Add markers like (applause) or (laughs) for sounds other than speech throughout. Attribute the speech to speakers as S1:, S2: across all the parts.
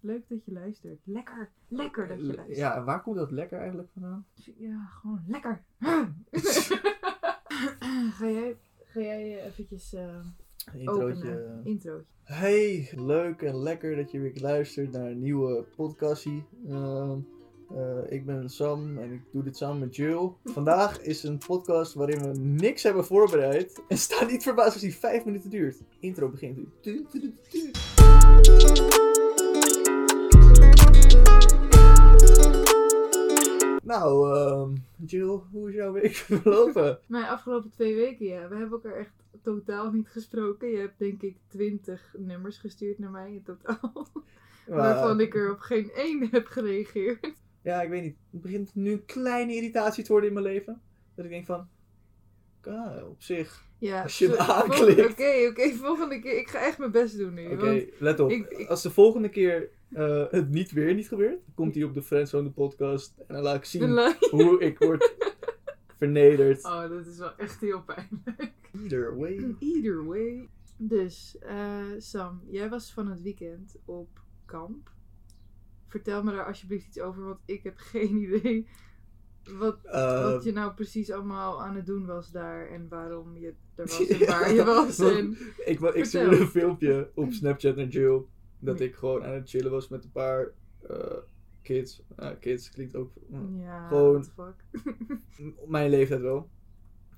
S1: Leuk dat je luistert. Lekker. Lekker dat je
S2: Le-
S1: luistert.
S2: Ja, en waar komt dat lekker eigenlijk vandaan?
S1: Ja, gewoon
S2: (laughs)
S1: lekker. (laughs) ga jij, ga jij eh, eventjes eh
S2: Een
S1: openen?
S2: introotje.
S1: Introotje.
S2: Hey, leuk en lekker dat je weer luistert naar een nieuwe podcastie. Ehm, eh, ik ben Sam en ik doe dit samen
S1: (laughs)
S2: met Jill. Vandaag is een podcast waarin we niks hebben voorbereid. En sta niet verbaasd als die vijf minuten duurt. Intro begint nu. Tu, tu, tu, tu. Nou, ehm, Jill, hoe is jouw week (laughs) verlopen?
S1: Mijn afgelopen twee weken, ja. We hebben elkaar echt totaal niet gesproken. Je hebt denk ik twintig nummers gestuurd naar mij in
S2: (laughs)
S1: totaal. Waarvan ik er op geen één heb gereageerd.
S2: Ja, ik weet niet. Het begint nu een kleine irritatie te worden in mijn leven. Dat ik denk van... ah, op zich.
S1: Ja,
S2: Als je hem
S1: vol- vol-
S2: aanklikt.
S1: Oké, oké. volgende keer. Ik ga echt mijn best doen nu.
S2: Oké,
S1: want
S2: let op.
S1: ik- ik-
S2: Als de volgende keer eh, het niet weer niet gebeurt... dan komt hij op de Friendzone podcast... en dan laat ik
S1: de (laughs)
S2: zien
S1: li-
S2: hoe ik word vernederd.
S1: Oh, dat is wel echt heel pijnlijk.
S2: Either
S1: (clears throat)
S2: way.
S1: Either way. Dus, eh, Sam, jij was van het weekend op kamp. Vertel me daar alsjeblieft iets over, want ik heb (laughs) geen idee wat,
S2: Eh,
S1: wat je nou precies allemaal aan het doen was daar en waarom je er
S2: (laughs)
S1: was en
S2: Ja,
S1: waar je was.
S2: want-
S1: En...
S2: ik, wa- ik
S1: vertel.
S2: stuurde een filmpje op Snapchat naar Jill... dat ik gewoon aan het chillen was met een paar eh, kids. Nou, kids klinkt ook...
S1: Ja,
S2: Gewoon-
S1: what the fuck. (laughs)
S2: op mijn leeftijd wel.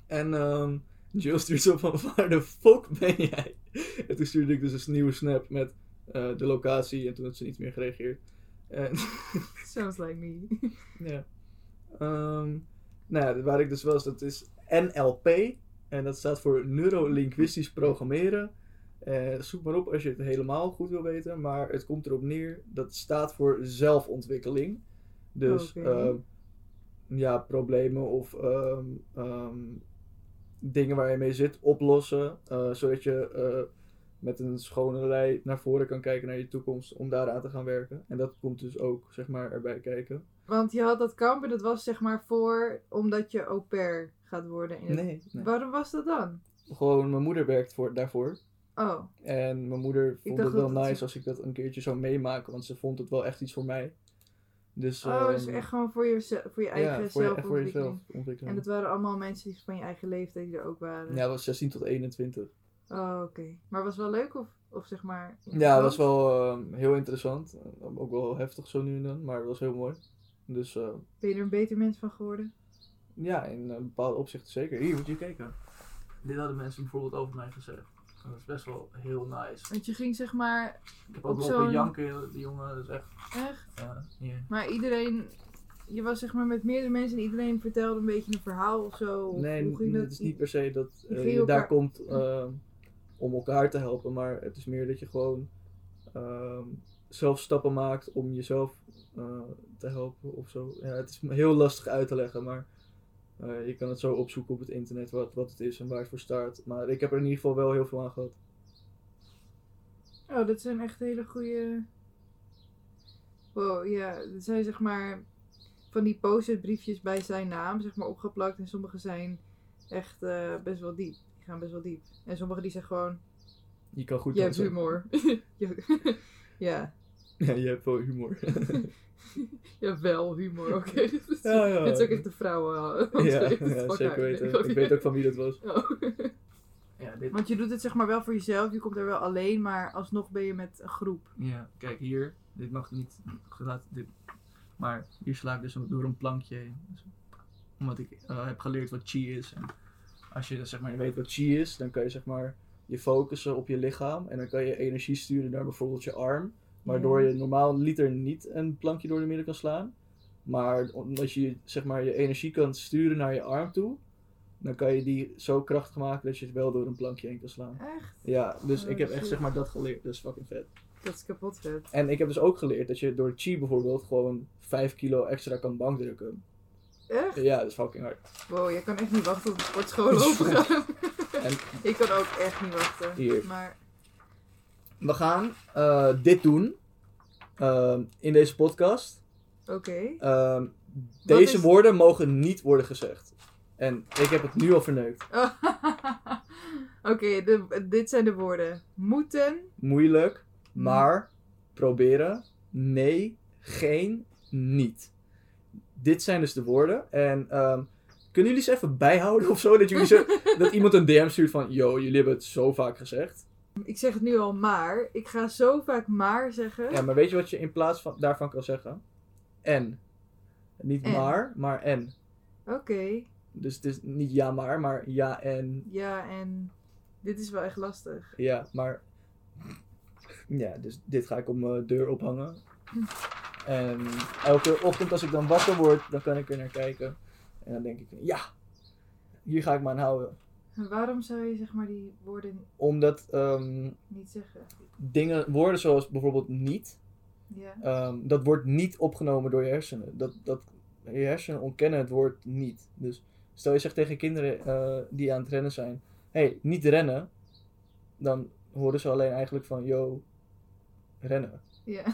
S2: En ehm Jill stuurt zo van, (laughs) waar de fuck ben jij? (laughs) En toen stuurde ik dus een nieuwe snap met eh, de locatie en toen had ze niet meer gereageerd. En, (laughs)
S1: Sounds like me. (laughs)
S2: ja. Ehm, nou ja, waar ik dus was, dat is NLP. En dat staat voor Neurolinguistisch Programmeren. Eh, zoek maar op als je het helemaal goed wil weten. Maar het komt erop neer, dat staat voor zelfontwikkeling. Dus
S1: Oké.
S2: ehm, ja, problemen of ehm, ehm, dingen waar je mee zit oplossen. eh, zodat je eh, met een schone lei naar voren kan kijken naar je toekomst om daaraan te gaan werken. En dat komt dus ook zeg maar, erbij kijken.
S1: Want je had dat kamp en dat was zeg maar voor omdat je au pair gaat worden. In het-
S2: Nee, nee.
S1: Waarom was dat dan?
S2: Gewoon, mijn moeder werkt voor, daarvoor.
S1: Oh,
S2: En mijn moeder vond
S1: dacht
S2: het wel
S1: dat het-
S2: nice als ik dat een keertje zou meemaken, want ze vond het wel echt iets voor mij. Dus,
S1: oh dus
S2: ehm,
S1: echt gewoon voor, jezelf, voor je eigen
S2: ja, voor, je,
S1: zelfontwikkeling.
S2: voor jezelf
S1: En
S2: ontwikkelen.
S1: dat waren allemaal mensen die van je eigen leeftijd die er ook waren.
S2: Ja, dat was 16 tot 21.
S1: Oh, oké. Maar was het wel leuk of, of zeg maar...
S2: Ja, dat was wel ehm, heel interessant. Eh, Ook wel heftig zo nu en dan, maar het was heel mooi. Dus eh,
S1: Ben je er een beter mens van geworden?
S2: ja, in een bepaalde opzichten zeker. Hier, moet je kijken. Dit hadden mensen bijvoorbeeld over mij gezegd. En Dat is best wel heel nice.
S1: Want je ging zeg maar
S2: Ik heb
S1: Op zo'n-
S2: janken, die jongen, dat is echt...
S1: echt...
S2: eh, hier.
S1: Maar iedereen... Je was zeg maar met meerdere mensen en iedereen vertelde een beetje een verhaal of zo. Of
S2: Nee,
S1: hoe ging
S2: n-
S1: dat?
S2: het is niet per se dat eh,
S1: ging
S2: je
S1: elkaar-
S2: daar komt eh, om elkaar te helpen, maar het is meer dat je gewoon ehm, zelf stappen maakt om jezelf eh, te helpen of zo. Ja, het is m- heel lastig uit te leggen, maar eh, je kan het zo opzoeken op het internet wat, wat het is en waar het voor staat. Maar ik heb er in ieder geval wel heel veel aan gehad.
S1: Oh, dat zijn echt hele goede. Wow, ja. Er zijn zeg maar van die post-it briefjes bij zijn naam, zeg maar opgeplakt. En sommige zijn echt eh, best wel diep. Die gaan best wel diep. En sommige die zeggen gewoon:
S2: Je kan goed
S1: Je hebt
S2: dansen.
S1: humor. (laughs) Je- ja,
S2: (laughs) Ja, je hebt wel
S1: (laughs)
S2: humor.
S1: je hebt wel humor.
S2: (laughs)
S1: Oké. (laughs) Dit is-
S2: ja, ja.
S1: Dit is ook echt de (laughs) vrouwen. eh,
S2: ja, ja, zeker
S1: (laughs)
S2: weten. Ik weet ook van wie dat was.
S1: Oh.
S2: Ja, dit
S1: Want je doet het zeg maar wel voor jezelf. Je komt er wel alleen, maar alsnog ben je met een groep.
S2: Ja, kijk hier. Dit mag niet. gelaten- Dit, maar hier sla ik dus een- door een plankje heen. Dus- omdat ik eh, heb geleerd wat chi is. En als je zeg maar, weet wat chi is, dan kan je zeg maar, je focussen op je lichaam. En dan kan je energie sturen naar bijvoorbeeld je arm. Waardoor je normaal liter niet een plankje door de midden kan slaan. Maar omdat je zeg maar, je energie kan sturen naar je arm toe. Dan kan je die zo krachtig maken dat je het wel door een plankje heen kan slaan.
S1: Echt?
S2: Ja, dus
S1: Oh,
S2: ik heb
S1: shit.
S2: echt zeg maar, dat geleerd. Dat is fucking vet.
S1: Dat is kapot vet.
S2: En ik heb dus ook geleerd dat je door chi bijvoorbeeld gewoon 5 kilo extra kan bankdrukken.
S1: Echt?
S2: Ja, dat is fucking hard.
S1: Wow, jij kan echt niet wachten tot de
S2: (laughs)
S1: sportschool open gaat.
S2: En
S1: (laughs) ik kan ook echt niet wachten.
S2: Hier.
S1: Maar
S2: we gaan eh, dit doen ehm, in deze podcast.
S1: oké.
S2: Ehm, deze
S1: is-
S2: woorden mogen niet worden gezegd. En ik heb het nu al verneukt.
S1: Oh, (laughs) oké, de- dit zijn de woorden. Moeten,
S2: Moeilijk, maar proberen, nee, geen, niet. Dit zijn dus de woorden. En ehm, kunnen jullie ze even bijhouden of zo? Dat, jullie
S1: (laughs)
S2: zo, dat iemand een DM stuurt van, yo, jullie hebben het zo vaak gezegd.
S1: Ik zeg het nu al maar. Ik ga zo vaak maar zeggen.
S2: Ja, maar weet je wat je in plaats van, daarvan kan zeggen? En. Niet
S1: En.
S2: maar, maar en.
S1: Oké.
S2: Dus het is niet ja maar, maar ja en
S1: Ja, en dit is wel echt lastig.
S2: Ja, maar. Ja, dus dit ga ik op mijn deur ophangen. En elke ochtend als ik dan wakker word, dan kan ik er naar kijken. En dan denk ik, ja, hier ga ik me aan houden.
S1: En waarom zou je zeg maar die woorden
S2: Omdat ehm,
S1: niet zeggen?
S2: dingen, woorden zoals bijvoorbeeld niet,
S1: Ja.
S2: ehm, dat wordt niet opgenomen door je hersenen. Dat, dat, je hersenen ontkennen het woord niet. Dus stel je zegt tegen kinderen eh, die aan het rennen zijn, hé, hey, niet rennen. Dan horen ze alleen eigenlijk van, yo, rennen.
S1: Ja,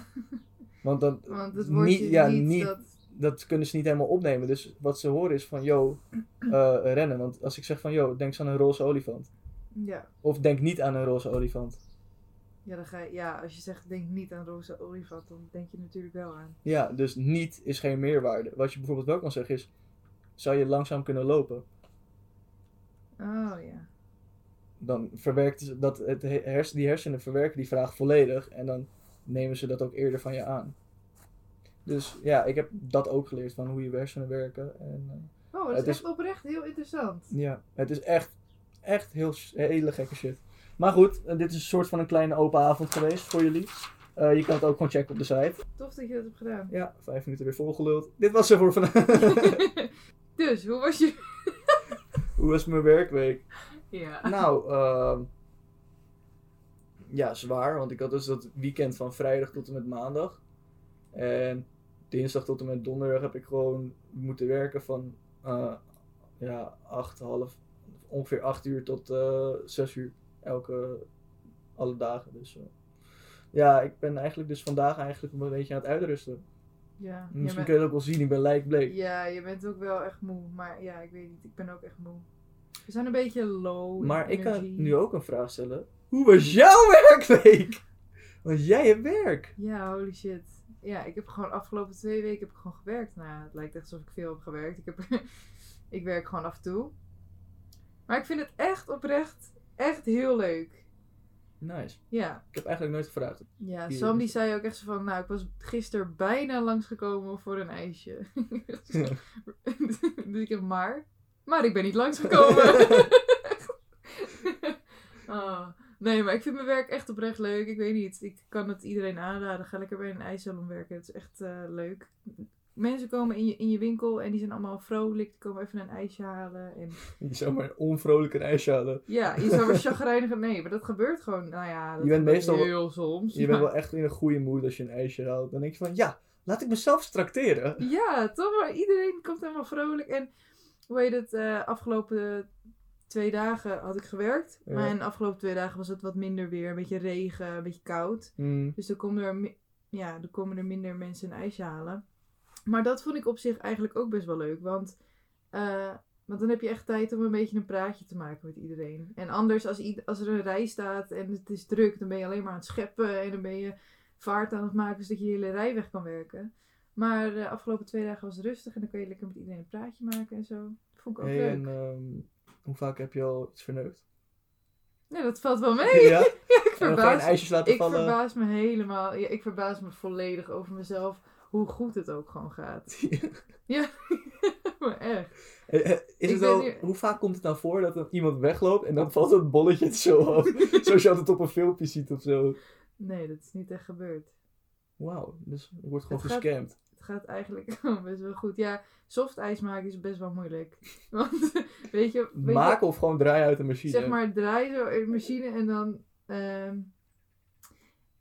S2: Want dan,
S1: want het
S2: niet,
S1: woordje niet,
S2: ja, niet-
S1: dat...
S2: dat kunnen ze niet helemaal opnemen. Dus wat ze horen is van, yo, eh, rennen. Want als ik zeg van, yo, denk eens aan een roze olifant.
S1: Ja.
S2: Of denk niet aan een roze olifant.
S1: Ja, dan ga je, ja, als je zegt denk niet aan roze olifant, dan denk je natuurlijk wel aan.
S2: Ja, dus niet is geen meerwaarde. Wat je bijvoorbeeld wel kan zeggen is, zou je langzaam kunnen lopen?
S1: Oh ja.
S2: Dan verwerkt ze- dat het he- hers- die hersenen verwerken die vraag volledig. En dan nemen ze dat ook eerder van je aan. Dus ja, ik heb dat ook geleerd van hoe je hersenen werken. En, eh,
S1: Oh, dat
S2: Het
S1: is
S2: is-
S1: echt oprecht heel interessant.
S2: ja, het is echt, echt heel, s- hele gekke shit. Maar goed, eh, dit is een soort van een kleine open avond geweest voor jullie. Eh, je kan het ook gewoon checken op de site.
S1: Tof dat je dat hebt
S2: (laughs)
S1: gedaan.
S2: Ja, vijf minuten weer volgeluld. Dit was er voor vandaag.
S1: dus, hoe was je...
S2: (laughs) Hoe was mijn werkweek?
S1: Ja.
S2: Nou, ehm, ja, zwaar. Want ik had dus dat weekend van vrijdag tot en met maandag. En dinsdag tot en met donderdag heb ik gewoon moeten werken van eh, ja, acht, half, ongeveer acht uur tot eh, zes uur. Elke, alle dagen dus. eh. ja, ik ben eigenlijk dus vandaag eigenlijk een beetje aan het uitrusten.
S1: Ja.
S2: Misschien
S1: Ja, maar-
S2: kun je dat ook wel zien, ik ben lijkbleek.
S1: ja, je bent ook wel echt moe. Maar ja, ik weet niet, ik ben ook echt moe. We zijn een beetje low in
S2: Maar ik kan
S1: energy.
S2: nu ook een vraag stellen. Hoe was jouw (laughs) werkweek? Want jij hebt werk.
S1: Ja, holy shit. Ja, ik heb gewoon de afgelopen twee weken heb ik gewoon gewerkt. Nou, het lijkt echt alsof ik veel heb gewerkt. Ik, heb, (laughs) ik werk gewoon af en toe. Maar ik vind het echt oprecht, echt heel leuk.
S2: Nice.
S1: Ja.
S2: Ik heb eigenlijk nooit gevraagd. (laughs)
S1: Ja,
S2: Hier
S1: Sam
S2: is
S1: die zei ook echt zo van, nou, ik was gisteren bijna langsgekomen voor een ijsje. (laughs) dus ik heb maar, maar ik ben niet langsgekomen. (laughs) oh. Nee, maar ik vind mijn werk echt oprecht leuk. Ik weet niet, ik kan het iedereen aanraden. Ga lekker bij een ijssalon werken. Het is echt eh, leuk. Mensen komen in je, in je winkel en die zijn allemaal vrolijk. Die komen even een ijsje halen. En
S2: Je zou maar een onvrolijke ijsje halen.
S1: ja, je
S2: (laughs)
S1: zou weer chagrijnigen. Nee, maar dat gebeurt gewoon. Nou ja, dat
S2: Je bent
S1: gebeurt
S2: meestal wel-
S1: heel soms.
S2: Je
S1: maar-
S2: bent wel echt in een goede mood als je een ijsje haalt. Dan denk je van, ja, laat ik mezelf tracteren.
S1: (laughs) Ja, toch? Maar iedereen komt helemaal vrolijk. En hoe heet het, eh, afgelopen twee dagen had ik gewerkt.
S2: Ja.
S1: Maar en de afgelopen twee dagen was het wat minder weer. Een beetje regen, een beetje koud.
S2: Hmm.
S1: Dus dan komen er, mi- ja, dan komen er minder mensen een ijsje halen. Maar dat vond ik op zich eigenlijk ook best wel leuk. Want, eh, want dan heb je echt tijd om een beetje een praatje te maken met iedereen. En anders, als, ied- als er een rij staat en het is druk, dan ben je alleen maar aan het scheppen. En dan ben je vaart aan het maken zodat je je hele rij weg kan werken. Maar de afgelopen twee dagen was het rustig en dan kon je lekker met iedereen een praatje maken en zo. Vond ik ook
S2: Hey,
S1: leuk.
S2: en ehm, hoe vaak heb je al iets verneukt?
S1: Nee, dat valt wel mee.
S2: (laughs)
S1: (laughs)
S2: Ja?
S1: ik
S2: En dan geen
S1: verbaas
S2: ijsjes laten
S1: Ik
S2: vallen?
S1: verbaas me helemaal. Ja, ik verbaas me volledig over mezelf. Hoe goed het ook gewoon gaat. (laughs) maar echt.
S2: Eh, eh, Is
S1: Ik
S2: het
S1: ben
S2: wel,
S1: hier-
S2: Hoe vaak komt het nou voor dat er iemand wegloopt en dan valt het bolletje het zo
S1: (laughs)
S2: af? Zoals je altijd op een filmpje ziet of zo.
S1: Nee, dat is niet echt gebeurd.
S2: Wauw, dus er wordt gewoon
S1: Het gaat-
S2: gescamd.
S1: Het gaat eigenlijk (laughs) best wel goed. Ja, soft ijs maken is best wel moeilijk. (laughs) Want weet je, weet je
S2: Maken of gewoon draaien uit de machine?
S1: zeg maar draai zo in de machine en dan. ehm,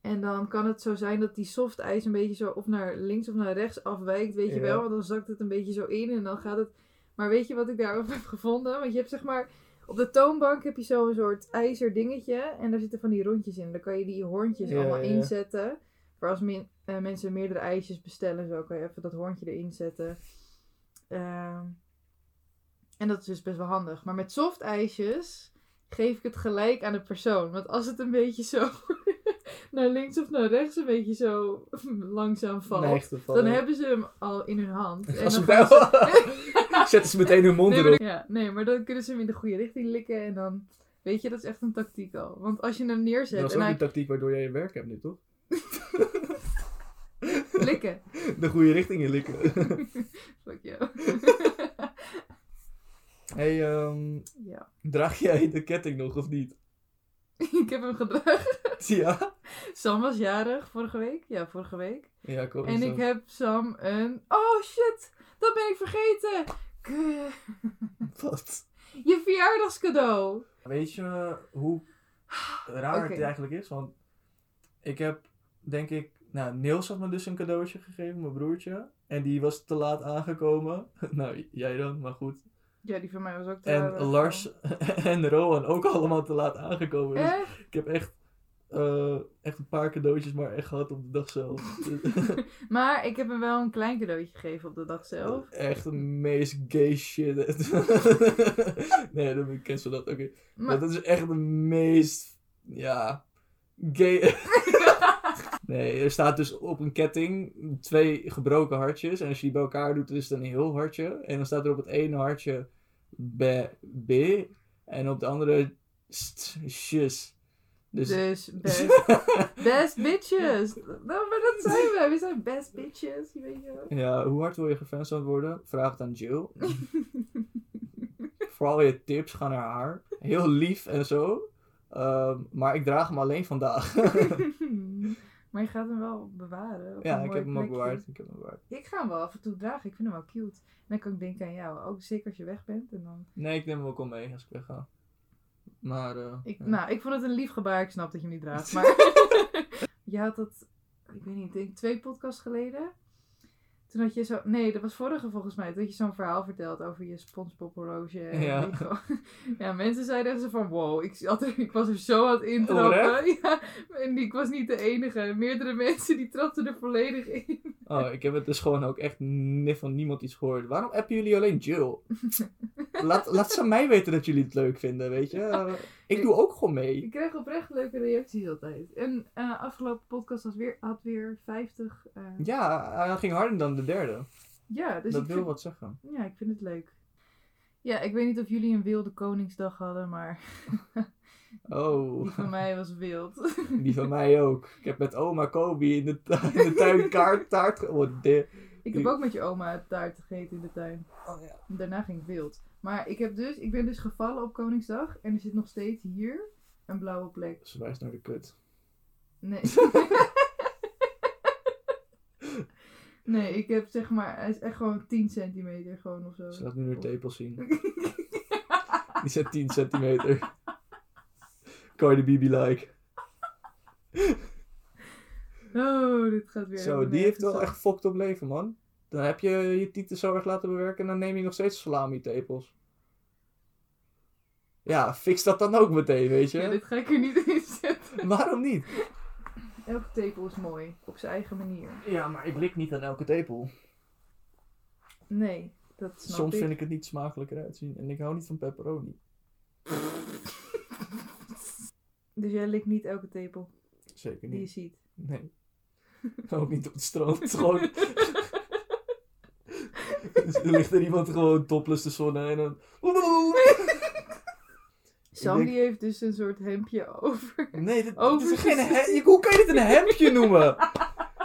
S1: en dan kan het zo zijn dat die soft ijs een beetje zo of naar links of naar rechts afwijkt, weet je
S2: Ja.
S1: wel. Want dan zakt het een beetje zo in en dan gaat het. Maar weet je wat ik daarover heb gevonden? Want je hebt zeg maar. Op de toonbank heb je zo'n soort ijzer dingetje. En daar zitten van die rondjes in. Dan kan je die hoornjes
S2: Ja,
S1: allemaal
S2: ja.
S1: inzetten. Voor als min- eh, mensen meerdere ijsjes bestellen, zo kan je even dat hoornje erin zetten. Ehm, en dat is dus best wel handig. Maar met soft ijsjes geef ik het gelijk aan de persoon. Want als het een beetje zo (laughs) naar links of naar rechts een beetje zo (laughs) langzaam valt.
S2: Nee, echt te vallen.
S1: dan hebben ze hem al in hun hand. En
S2: Als
S1: dan
S2: ze
S1: gaan ze-
S2: wel- (laughs) Zetten ze meteen hun mond
S1: nee,
S2: erop.
S1: maar, ja, nee, maar dan kunnen ze hem in de goede richting likken en dan... Weet je, dat is echt een tactiek al. Want als je hem neerzet
S2: Dat is
S1: en
S2: ook
S1: hij
S2: een tactiek waardoor jij je werk hebt nu, toch? (laughs)
S1: (laughs) likken.
S2: De goede richting in likken. (laughs)
S1: Fuck you. (laughs)
S2: hey, ehm,
S1: ja.
S2: draag jij de ketting nog of niet? (laughs)
S1: Ik heb hem gedragen.
S2: Ja?
S1: Sam was jarig vorige week. Ja, vorige week.
S2: Ja, kom
S1: En ik heb Sam een... Oh shit, dat ben ik vergeten. Kut.
S2: Wat?
S1: Je verjaardagscadeau.
S2: Weet je eh, hoe raar het
S1: Oké.
S2: eigenlijk is? Want ik heb, denk ik... Nou, Niels had me dus een cadeautje gegeven, mijn broertje. En die was te laat aangekomen. (laughs) Nou, jij dan, maar goed.
S1: Ja, die van mij was ook te
S2: En
S1: laat aangekomen.
S2: Lars (laughs) en Rowan ook allemaal te laat aangekomen. Dus
S1: Echt?
S2: ik heb echt, eh, echt een paar cadeautjes maar echt gehad op de dag zelf.
S1: (laughs) Maar ik heb hem wel een klein cadeautje gegeven op de dag zelf.
S2: echt de meest gay shit. nee, dan ken ze dat. Oké.
S1: Maar,
S2: Dat is echt de meest. Ja. Gay. nee, er staat dus op een ketting twee gebroken hartjes. En als je die bij elkaar doet, is het een heel hartje. En dan staat er op het ene hartje B. B en op de andere st, sjes. Dus.
S1: dus best,
S2: (laughs)
S1: best bitches. Nou, maar dat zijn we. We zijn best bitches, je weet je wel. (laughs)
S2: ja, hoe hard wil je gefansand worden? Vraag het aan Jill. Voor al je tips, ga naar haar. Heel lief en zo. Ehm, maar ik draag hem alleen vandaag. (laughs)
S1: maar je gaat hem wel bewaren. op
S2: ja,
S1: een
S2: ik
S1: mooi
S2: heb hem ook
S1: plekje.
S2: bewaard. Ik heb hem bewaard.
S1: Ik ga hem wel af en toe dragen. Ik vind hem wel cute. En dan kan ik denken aan jou. Ook zeker als je weg bent. En dan...
S2: Nee, ik neem hem ook al mee als ik wegga. Maar, eh,
S1: ik,
S2: ja.
S1: Nou, ik vond het een lief gebaar. Ik snap dat je hem niet
S2: (laughs)
S1: draagt. Maar je had dat, ik weet niet, ik denk twee podcasts geleden. Toen had je zo, nee, dat was vorige volgens mij. Toen had je zo'n verhaal verteld over je SpongeBob horloge. en
S2: Ja.
S1: weet je wel. (laughs) ja, mensen zeiden echt zo van, wow, ik, had er- ik was er zo aan het
S2: Oh,
S1: intrappen. (laughs) Ja, en ik was niet de enige. Meerdere (laughs) mensen die trapten er volledig in.
S2: oh, ik heb het dus gewoon ook echt ni- van niemand iets gehoord. Waarom appen jullie alleen
S1: (laughs)
S2: Jill? laat, laat ze mij weten dat jullie het leuk vinden, weet je. Eh, ik doe ook gewoon mee.
S1: Ik kreeg oprecht leuke reacties altijd. En eh, afgelopen podcast had weer, had weer 50. eh,
S2: Ja, hij ging harder dan de derde.
S1: ja, dus
S2: dat
S1: ik
S2: wil
S1: vind-
S2: wat zeggen.
S1: Ja, ik vind het leuk. Ja, ik weet niet of jullie een wilde Koningsdag hadden, maar
S2: Oh,
S1: die van mij was
S2: (laughs)
S1: wild.
S2: die van mij ook. Ik heb met oma Kobe in de, tu- in de tuin kaart, taart ge- oh, de-
S1: ik heb ook met je oma taart gegeten in de tuin.
S2: Oh, ja.
S1: Daarna ging ik wild. Maar ik, heb dus, ik ben dus gevallen op Koningsdag en er zit nog steeds hier een blauwe plek.
S2: Ze wijst naar de kut. (laughs)
S1: Nee. nee, ik heb zeg maar, hij is echt gewoon 10 centimeter gewoon of
S2: Ze
S1: zo.
S2: laat nu haar tepels zien. Die zijn 10 centimeter. Cardi B be like.
S1: Oh, dit gaat weer.
S2: Zo,
S1: helemaal
S2: die
S1: nergens
S2: heeft wel
S1: op.
S2: echt fokt op leven, man. Dan heb je je tieten zo erg laten bewerken en dan neem je nog steeds salami-tepels. Ja, fix dat dan ook meteen, weet je.
S1: Ja, dit ga ik er niet in zetten.
S2: Waarom niet?
S1: Elke tepel is mooi, op zijn eigen manier.
S2: Ja, maar ik lik niet aan elke tepel.
S1: Nee, dat snap
S2: Soms
S1: ik.
S2: vind ik het niet smakelijker uitzien en ik hou niet van pepperoni.
S1: (laughs) Dus jij likt niet elke tepel
S2: Zeker
S1: die je
S2: niet.
S1: ziet.
S2: Nee. (laughs) ook niet op het strand. Gewoon (laughs) er ligt er iemand gewoon topless te zonnen en dan...
S1: Sam
S2: denk-
S1: die heeft dus een soort hemdje (laughs) over.
S2: Nee, dit,
S1: Oh,
S2: dit is
S1: precies.
S2: geen he- Hoe kan je dit een hemdje noemen?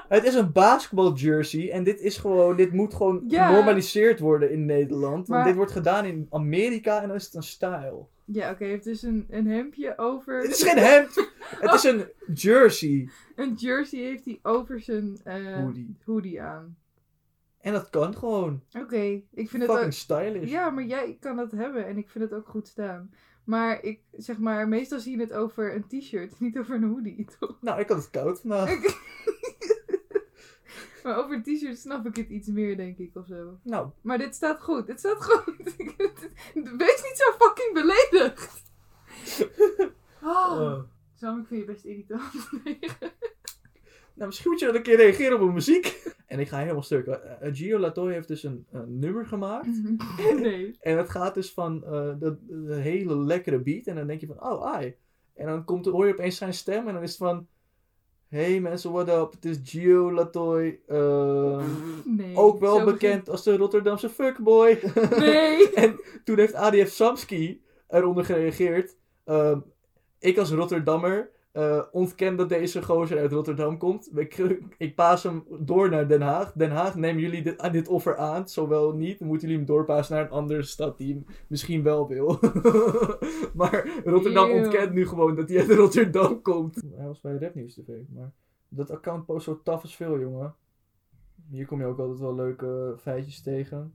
S2: Het is een basketbal jersey en dit is gewoon, dit moet gewoon
S1: Ja.
S2: genormaliseerd worden in Nederland. Want
S1: Maar-
S2: dit wordt gedaan in Amerika en dan is het een style.
S1: Ja, oké, hij heeft dus een, een hemdje over.
S2: Het is geen hemd, het is een jersey
S1: Een jersey heeft hij over zijn eh,
S2: hoodie.
S1: hoodie aan.
S2: En dat kan gewoon.
S1: Oké, ik vind het ook.
S2: Fucking stylish.
S1: Ja, maar jij kan dat hebben en ik vind het ook goed staan. Maar ik zeg maar, meestal zie je het over een t-shirt, (laughs) niet over een hoodie, toch?
S2: Nou, ik had het koud vandaag.
S1: Maar over een t-shirt snap ik het iets meer, denk ik, of zo.
S2: Nou,
S1: Maar dit staat goed, dit staat goed. (laughs) Wees niet zo fucking beledigd.
S2: (laughs)
S1: Oh.
S2: eh,
S1: Sam, ik vind je best irritant. (laughs)
S2: (laughs) nou, misschien moet je dat een keer reageren op mijn muziek. (laughs) En ik ga helemaal stuk. Eh, eh, Gio Latoy heeft dus een, een nummer gemaakt.
S1: Mhm. nee.
S2: En het gaat dus van eh dat dat hele lekkere beat. En dan denk je van, oh, ai. En dan komt, hoor je opeens zijn stem. En dan is het van... Hey mensen, what up? Het is Gio Latoy. eh,
S1: Nee.
S2: ook wel
S1: Mhm. zo
S2: bekend als de Rotterdamse fuckboy. (laughs)
S1: begint- (laughs) Nee.
S2: en toen heeft ADF Samski eronder gereageerd. ehm, ik als Rotterdammer eh, ontken dat deze gozer uit Rotterdam komt. Ik, (laughs) ik paas hem door naar Den Haag. Den Haag, neem jullie dit, aan dit offer aan? Zowel niet, dan moeten jullie hem doorpassen naar een andere stad die hem misschien wel wil. (laughs) maar Rotterdam
S1: Eeuw.
S2: ontkent nu gewoon dat hij uit Rotterdam komt. Hij was bij Rap News TV, maar dat account post zo taf als veel, jongen. Hier kom je ook altijd wel leuke feitjes tegen.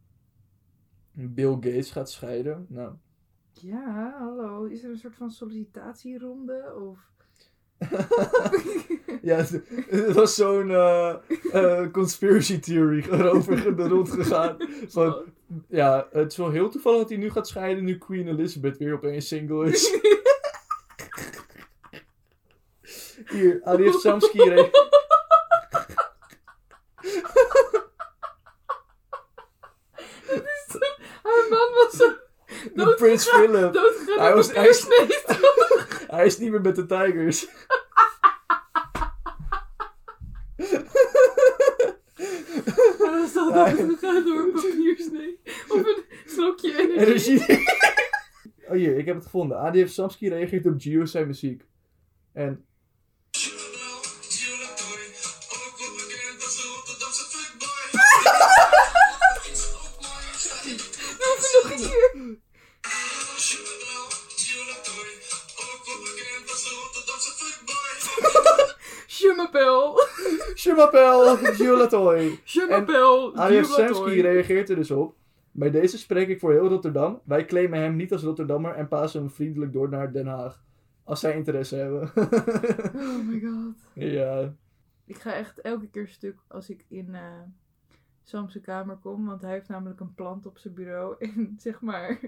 S2: Bill Gates gaat scheiden. Nou,
S1: Ja, hallo. Is er een soort van sollicitatieronde?
S2: (laughs)
S1: Of...
S2: ja, het, het was zo'n eh, eh, conspiracy theory
S1: (laughs)
S2: erover de rond gegaan. Van, ja, het is wel heel toevallig dat hij nu gaat scheiden nu Queen Elizabeth weer opeens single is. Hier, Arif Samski. re-
S1: Haar man was zo
S2: De Prins Philip.
S1: doodgegaan.
S2: Hij
S1: Hij
S2: was-
S1: was
S2: hij is-
S1: (laughs) echt...
S2: Hij is niet meer met de Tigers.
S1: Maar dat is toch
S2: Ja.
S1: doodgegaan door een papiersnee. Of een slokje energie.
S2: Energie. (laughs) oh hier, ik heb het gevonden. ADF Samski reageert op Gio zijn muziek. En
S1: Nog een keer. (laughs) Je m'appelle.
S2: Shumapel, Gio Latoy.
S1: Je m'appelle.
S2: Arif
S1: Jubatoy.
S2: Samski reageert er dus op. Bij deze spreek ik voor heel Rotterdam. Wij claimen hem niet als Rotterdammer en pasen hem vriendelijk door naar Den Haag. Als zij interesse hebben. (laughs)
S1: Oh my god.
S2: ja.
S1: Ik ga echt elke keer stuk als ik in eh Sam's kamer kom, want hij heeft namelijk een plant op zijn bureau. (laughs) En zeg maar. (laughs)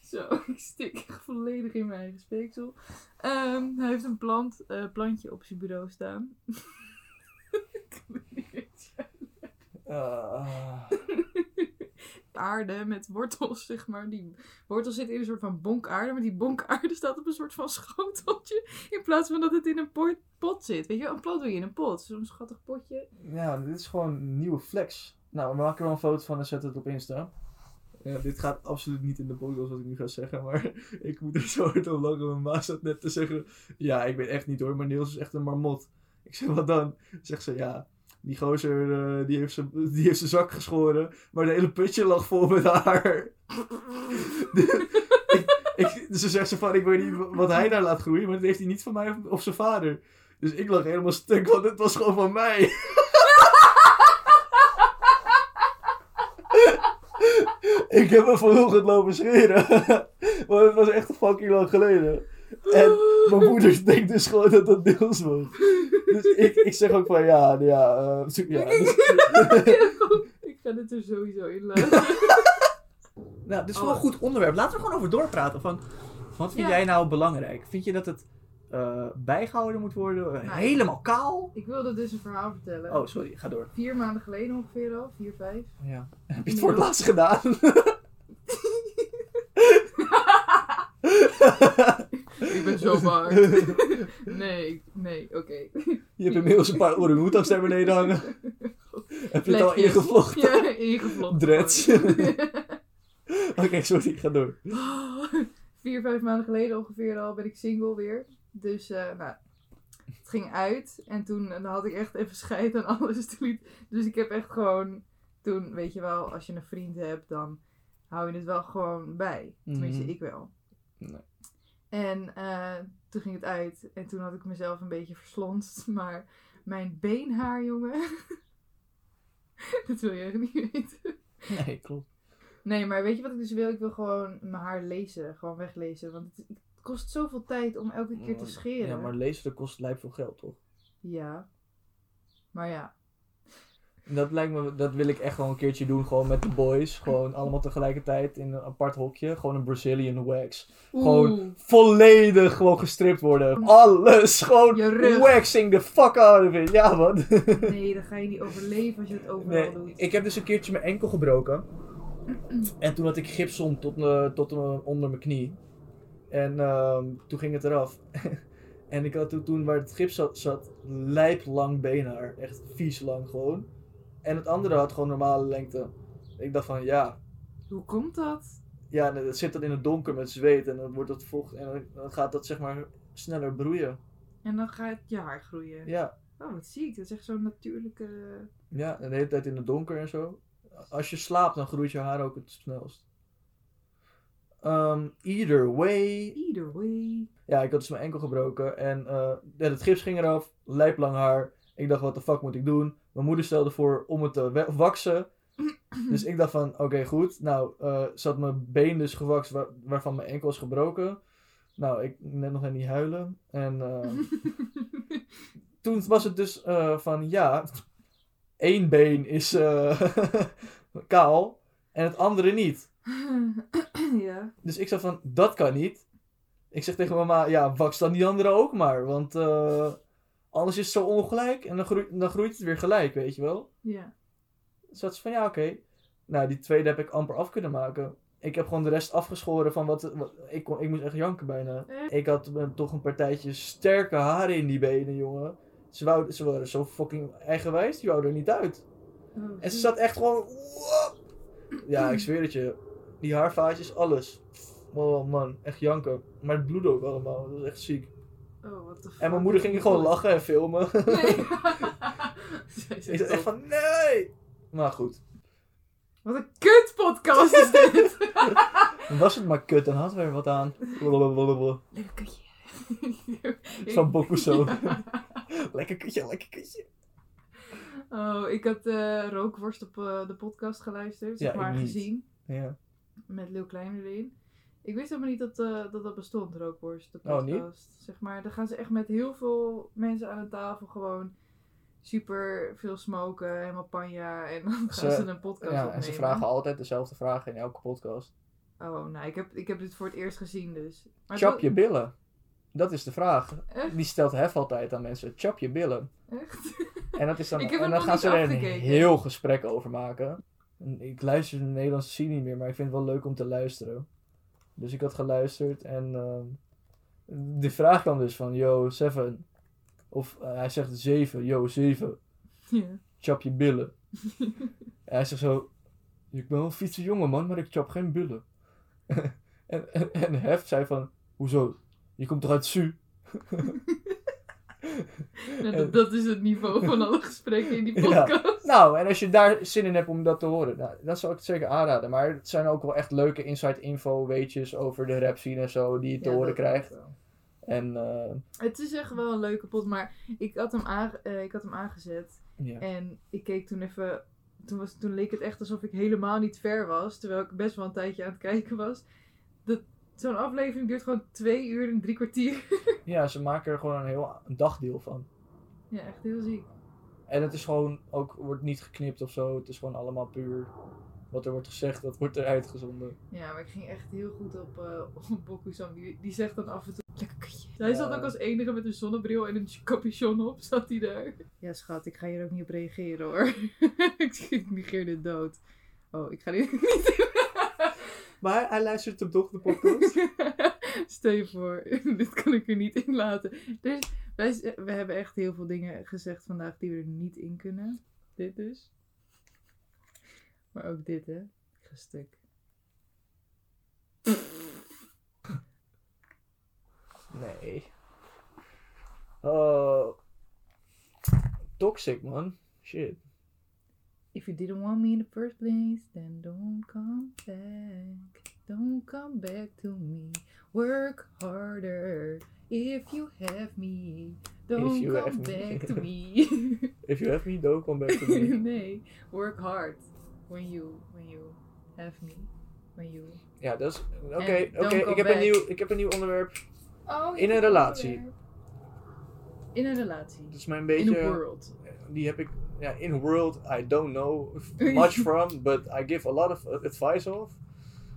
S1: Zo, ik stik echt volledig in mijn eigen speeksel. Ehm, hij heeft een plant, eh, plantje op zijn bureau staan. (laughs) ik kan het niet eens
S2: Ah.
S1: (laughs) aarde met wortels, zeg maar. Die wortel zit in een soort van bonkaarde, maar die bonkaarde staat op een soort van schoteltje. In plaats van dat het in een pot, pot zit. Weet je, wel, een plant doe je in een pot. Zo'n schattig potje.
S2: ja, dit is gewoon een nieuwe flex. Nou, we maken er wel een foto van en zetten het op Insta. Ja, dit gaat absoluut niet in de podcast wat ik nu ga zeggen, maar (laughs) ik moet er zo hard om lachen. Mijn ma zat net te zeggen, ja, ik weet echt niet hoor, maar Niels is echt een marmot. Ik zeg, wat dan? Zegt ze, ja, die gozer, eh, die, heeft zijn, die heeft zijn zak geschoren, maar de hele putje lag vol met haar. (laughs) ik, ik, dus ze zegt ze van, ik weet niet wat hij daar laat groeien, maar dat heeft hij niet van mij of, of zijn vader. Dus ik lag helemaal stuk, want het was gewoon van mij. (laughs) ik heb me vanochtend lopen scheren. (laughs) maar het was echt fucking lang geleden. En mijn moeder denkt dus gewoon dat dat Niels was. Dus ik, ik zeg ook van, ja, ja, eh, zo- ja. dus-
S1: (laughs) ik ga dit er sowieso in
S2: (laughs)
S1: laten.
S2: Nou, dit is
S1: Oh.
S2: wel een goed onderwerp. Laten we er gewoon over doorpraten. Van, wat vind
S1: Ja.
S2: jij nou belangrijk? Vind je dat het eh, bijgehouden moet worden?
S1: Nou,
S2: Helemaal kaal?
S1: ik wilde dus een verhaal vertellen.
S2: Oh, sorry. Ga door.
S1: Vier maanden geleden ongeveer al, vier, vijf.
S2: Ja. Heb je het voor het laatst gedaan?
S1: Ik ben
S2: (laughs)
S1: zo bang. nee, nee, oké. (laughs)
S2: je hebt inmiddels een paar orangutans naar beneden hangen. Heb je het al
S1: Vlekjes.
S2: ingevlochten?
S1: Ja, ingevlochten.
S2: Dreads. Oké, sorry. Ga door.
S1: (laughs) Vier, vijf maanden geleden ongeveer al ben ik single weer. Dus eh, nou, het ging uit. En toen eh, had ik echt even scheid aan alles. (laughs) Toen liet- Dus ik heb echt gewoon... Toen, weet je wel, als je een vriend hebt, dan hou je het wel gewoon bij. Tenminste,
S2: Mhm.
S1: ik wel.
S2: Nee.
S1: En eh, toen ging het uit. En toen had ik mezelf een beetje verslonst. (laughs) Maar mijn beenhaar, jongen... (laughs) Dat wil je echt niet weten.
S2: Nee, klopt.
S1: Nee, maar weet je wat ik dus wil? Ik wil gewoon mijn haar lezen. Gewoon weglezen. Want het, het kost zoveel tijd om elke keer te scheren.
S2: Mm, Ja, maar lezen kost lijp veel geld, toch?
S1: ja. Maar ja.
S2: Dat lijkt me, dat wil ik echt wel een keertje doen, gewoon met de boys. Gewoon allemaal tegelijkertijd in een apart hokje. Gewoon een Brazilian wax. Gewoon volledig gewoon gestript worden. Alles, gewoon
S1: Je rug.
S2: waxing the fuck out of it. Ja man.
S1: Nee, dan ga je niet overleven als je het overal
S2: Nee,
S1: doet.
S2: ik heb dus een keertje mijn enkel gebroken. En toen had ik gips om tot, eh, tot eh, onder mijn knie. En ehm, toen ging het eraf. (laughs) en ik had toen, toen waar het gips zat, zat lijp lang beenhaar. Echt vies lang gewoon. En het andere had gewoon normale lengte. Ik dacht van ja,
S1: Hoe komt dat?
S2: ja, nee, dat zit dan in het donker met zweet en dan wordt dat vocht en dan- dan gaat dat zeg maar sneller broeien.
S1: En dan gaat je haar groeien.
S2: Ja,
S1: Oh, wat ziek. Dat is echt zo'n natuurlijke...
S2: ja, en de hele tijd in het donker en zo. Als je slaapt, dan groeit je haar ook het snelst. Ehm, either way.
S1: Either way.
S2: Ja, ik had dus mijn enkel gebroken en eh, ja, het gips ging eraf, lijplang haar. Ik dacht, wat de fuck moet ik doen? Mijn moeder stelde voor om het te wa- waksen. Dus ik dacht van, oké goed. Nou, eh zat mijn been dus gewakst waar- waarvan mijn enkel is gebroken. Nou, ik net nog net niet huilen. En
S1: Mhm.
S2: eh, toen was het dus eh, van ja, één been is eh, (laughs) kaal en het andere niet.
S1: ja.
S2: Dus ik zei van, dat kan niet. Ik zeg tegen mama, ja, waks dan die andere ook maar. Want eh, anders is het zo ongelijk en dan, groeit- dan groeit het weer gelijk, weet je wel.
S1: (laughs) Ja.
S2: Dus dat ze van, ja, oké. Nou, die tweede heb ik amper af kunnen maken. Ik heb gewoon de rest afgeschoren van wat... wat- ik, kon, ik moest echt janken bijna.
S1: Eh?
S2: Ik had eh, toch een partijtje sterke haren in die benen, jongen. Ze, wou, ze waren zo fucking eigenwijs, die wouden er niet uit.
S1: Oh,
S2: En ze
S1: ziek.
S2: zat echt gewoon... Ja, ik zweer het je. Die haarvaatjes, alles. Oh man, echt janken. Maar het bloedde ook allemaal, dat was echt ziek.
S1: Oh, what the fuck.
S2: En mijn moeder ging gewoon lachen en filmen.
S1: Nee. (laughs) Zij
S2: Ik
S1: zegt
S2: dacht echt
S1: ook,
S2: van, nee! Maar goed,
S1: Wat een kut podcast is dit.
S2: dan was het maar kut, dan hadden we er wat aan. Blablabla.
S1: Leuk
S2: (laughs)
S1: kutje.
S2: Zo'n bokuso.
S1: Ja.
S2: Lekker kutje, lekker kutje.
S1: (laughs) Oh, ik had eh, Rookworst op eh, de podcast geluisterd, zeg
S2: Ja, ik
S1: maar,
S2: niet.
S1: gezien.
S2: Ja.
S1: Met Leeuw Klein erin. Ik wist helemaal niet dat eh, dat, dat bestond, rookworst, de
S2: Oh, niet?
S1: podcast. zeg maar, daar gaan ze echt met heel veel mensen aan de tafel gewoon super veel smoken, helemaal panja. En dan gaan
S2: Ze-
S1: ze een podcast
S2: ja,
S1: opnemen.
S2: en ze vragen altijd dezelfde vragen in elke podcast.
S1: Oh, nou, ik heb, ik heb dit voor het eerst gezien, dus. Maar
S2: Chap
S1: dat-
S2: je billen. Dat is de vraag.
S1: Echt?
S2: Die stelt Hef altijd aan mensen. Chap je billen.
S1: Echt? (laughs)
S2: En, dat is dan,
S1: Ik heb
S2: en
S1: hem
S2: dan
S1: nog
S2: gaan
S1: niet
S2: ze er een
S1: afgekeken.
S2: heel gesprek over maken. En Ik luister de Nederlandse serie niet meer, maar ik vind het wel leuk om te luisteren. Dus ik had geluisterd en ehm, de vraag kwam dus van, yo, Seven. Of eh, hij zegt zeven, yo, zeven,
S1: ja.
S2: chap je
S1: (laughs)
S2: billen. en hij zegt zo, ik ben wel een fietse jongen man, maar ik chap geen billen. (laughs) en, en, en Hef zei van, hoezo? Je komt toch uit Su?
S1: Nou,
S2: En-
S1: dat, dat is het niveau van alle gesprekken in die
S2: Eh. Ja.
S1: podcast.
S2: Nou, en als je daar zin in hebt om dat te horen, nou, dan zou ik het zeker aanraden. Maar het zijn ook wel echt leuke inside info, weetjes over de rap scene en zo, die je te
S1: Ja,
S2: horen
S1: dat-
S2: krijgt. En eh,
S1: Het is echt wel een leuke pot, maar ik had hem, aange- eh, ik had hem aangezet.
S2: ja.
S1: En ik keek toen even. Toen, was, toen leek het echt alsof ik helemaal niet ver was. Terwijl ik best wel een tijdje aan het kijken was. Dat- Zo'n aflevering duurt gewoon twee uur en drie kwartier. (laughs)
S2: ja, ze maken er gewoon een heel een dagdeel van.
S1: Ja, echt heel ziek.
S2: En het is gewoon ook, wordt niet geknipt of zo. Het is gewoon allemaal puur wat er wordt gezegd, dat wordt eruit gezonden.
S1: Ja, maar ik ging echt heel goed op, eh op Bokusam. Die, die zegt dan af en toe, lekker kutje. Hij
S2: Ja.
S1: zat ook als enige met een zonnebril en een capuchon op, zat hij daar. Ja, schat, ik ga hier ook niet op reageren hoor. (laughs) ik, ik negeer dit dood. Oh, ik ga dit niet
S2: Maar hij luistert hem toch, de podcast?
S1: (laughs) Stel je voor, dit kan ik er niet in laten. Dus wij, z- we hebben echt heel veel dingen gezegd vandaag die we er niet in kunnen. Dit dus. Maar ook dit, hè. Ik ga stuk.
S2: (laughs) nee. Oh. toxic, man. Shit.
S1: If you didn't want me in the first place, then don't come back. Don't come back to me. Work harder. If you have me, don't
S2: you
S1: come
S2: have me.
S1: back to me.
S2: (laughs)
S1: (laughs)
S2: If you have me, don't come back to (laughs) me.
S1: nee, work hard when you when you have me. When you
S2: Ja, dat is. Oké,
S1: En
S2: oké.
S1: don't go
S2: ik, heb een
S1: back.
S2: nieuw- ik heb een nieuw onderwerp.
S1: Oh,
S2: In een relatie. Dus
S1: In een relatie.
S2: Dat is mijn
S1: In een
S2: beetje.
S1: world.
S2: Die heb ik. Ja, in world, I don't (laughs) know much from, but I give a lot of advice of.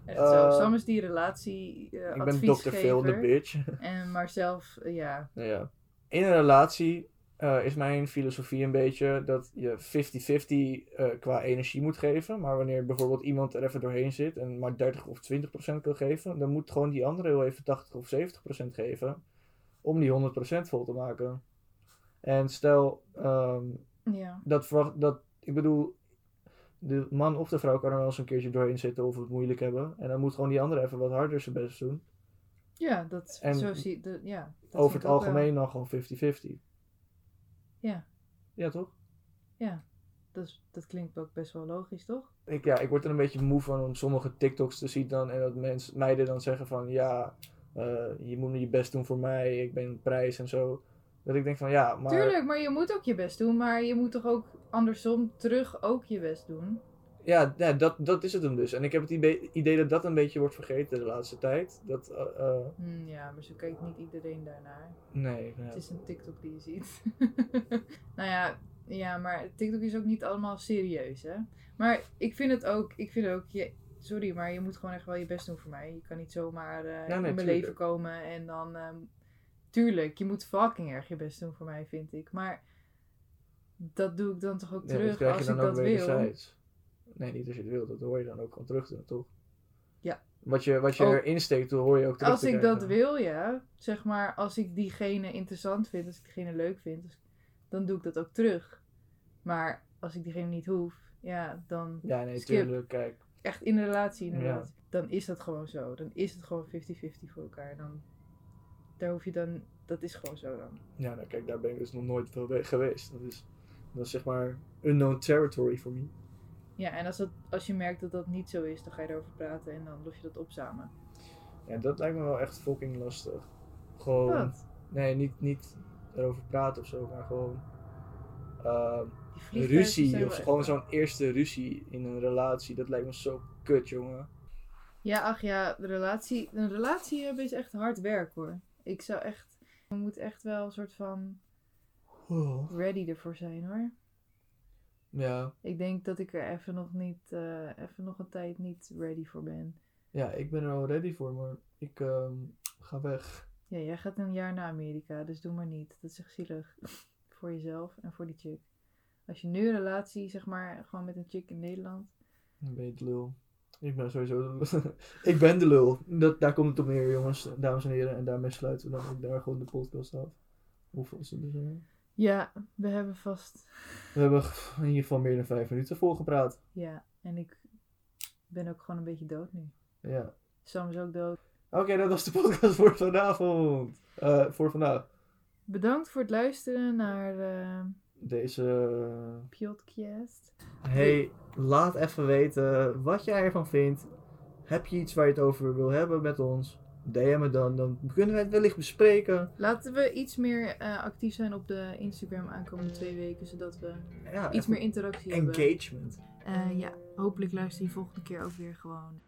S1: Echt zo.
S2: Eh,
S1: Sam is die relatie eh,
S2: ik ben Dr.
S1: adviesgever.
S2: Phil, de bitch. Nou
S1: En maar zelf, eh, ja.
S2: ja. In een relatie eh, is mijn filosofie een beetje dat je 50-50 eh, qua energie moet geven. Maar wanneer bijvoorbeeld iemand er even doorheen zit en maar 30 of 20 kan geven, dan moet gewoon die andere heel even 80 of 70 geven om die 100 vol te maken. En stel, ehm,
S1: Ja.
S2: dat verwacht dat ik bedoel de man of de vrouw kan er wel eens een keertje doorheen zitten of het moeilijk hebben en dan moet gewoon die andere even wat harder zijn best doen
S1: Ja, dat
S2: En
S1: zo zie de, ja, dat
S2: over
S1: vind
S2: het
S1: ik ook wel-
S2: algemeen dan gewoon 50-50
S1: Ja.
S2: ja toch
S1: dat, is- dat klinkt ook best wel logisch, toch?
S2: ik, ja, ik word er een beetje moe van om sommige TikToks te zien dan en dat mensen meiden dan zeggen van ja eh, je moet je best doen voor mij ik ben prijs en zo dat ik denk van ja maar
S1: Tuurlijk, maar je moet ook je best doen. Maar je moet toch ook andersom terug ook je best doen?
S2: Ja, ja dat, dat is het hem dus. En ik heb het idee, idee dat dat een beetje wordt vergeten de laatste tijd. Dat, eh, eh,
S1: Hm, ja, maar zo kijkt niet iedereen daarnaar.
S2: nee, ja.
S1: Het is een TikTok die je ziet. (laughs) nou ja, ja, maar TikTok is ook niet allemaal serieus, hè? Maar ik vind het ook, ik vind ook, je, sorry, maar je moet gewoon echt wel je best doen voor mij. Je kan niet zomaar eh, in mijn
S2: tuurlijk.
S1: leven komen en dan, ehm, tuurlijk, je moet fucking erg je best doen voor mij, vind ik. Maar dat doe ik dan toch ook
S2: Ja, dat
S1: terug
S2: krijg
S1: als
S2: je
S1: ik
S2: dan ook
S1: dat wil.
S2: wederzijds. Nee, niet als je het wil, dat hoor je dan ook gewoon terug te doen, toch?
S1: Ja.
S2: Wat je, wat je
S1: Ook-
S2: erin steekt, dat hoor je ook terug
S1: Als
S2: te
S1: ik
S2: krijgen.
S1: dat wil, ja. Zeg maar, als ik diegene interessant vind, als ik diegene leuk vind, dus- dan doe ik dat ook terug. Maar als ik diegene niet hoef, ja, dan
S2: Ja, nee,
S1: Skip.
S2: tuurlijk, kijk.
S1: echt in de relatie inderdaad, dan is dat gewoon zo. Dan is het gewoon 50-50 voor elkaar. Dan, daar hoef je dan, dat is gewoon zo dan.
S2: Ja, nou, kijk, daar ben ik dus nog nooit wel bij geweest. Dat is, dat is zeg maar unknown territory voor me.
S1: Ja, en als, dat, als je merkt dat dat niet zo is, dan ga je erover praten en dan los je dat op samen.
S2: Ja, dat lijkt me wel echt fucking lastig. Gewoon...
S1: Wat?
S2: Nee, niet, niet erover praten of zo, maar gewoon... ehm,
S1: Die vliegtuigen zijn
S2: ruzie,
S1: wel
S2: of
S1: echt-
S2: gewoon zo'n eerste ruzie in een relatie. Dat lijkt me zo kut, jongen.
S1: Ja, ach ja, de relatie, een relatie hebben is echt hard werk hoor. Ik zou echt, je moet echt wel een soort van ready ervoor zijn hoor.
S2: Ja,
S1: Ik denk dat ik er even nog niet, eh, even nog een tijd niet ready voor ben.
S2: Ja, ik ben er al ready voor, maar ik ehm, ga weg.
S1: Ja, jij gaat een jaar naar Amerika, dus doe maar niet. Dat is echt zielig. (laughs) voor jezelf en voor die chick. Als je nu een relatie, zeg maar, gewoon met een chick in Nederland.
S2: Dan ben je de lul. Ik ben sowieso de lul. (laughs) ik ben de lul. Dat, daar komt het op neer, jongens, dames en heren. En daarmee sluiten we dan ook daar gewoon de podcast af. Hoeveel is het er zijn?
S1: Ja, we hebben vast.
S2: We hebben in ieder geval meer dan vijf minuten volgepraat.
S1: Ja, en ik ben ook gewoon een beetje dood nu.
S2: Ja.
S1: Sam is ook dood.
S2: Oké, dat was de podcast voor vanavond. Eh, voor vandaag.
S1: Bedankt voor het luisteren naar eh
S2: Deze eh,
S1: Podcast.
S2: Hey, laat even weten wat jij ervan vindt. Heb je iets waar je het over wil hebben met ons? DM het dan, dan kunnen wij het wellicht bespreken.
S1: Laten we iets meer eh, actief zijn op de Instagram aankomende twee weken, zodat we
S2: Ja,
S1: iets meer interactie hebben.
S2: engagement.
S1: Eh, ja, hopelijk luister je volgende keer ook weer gewoon.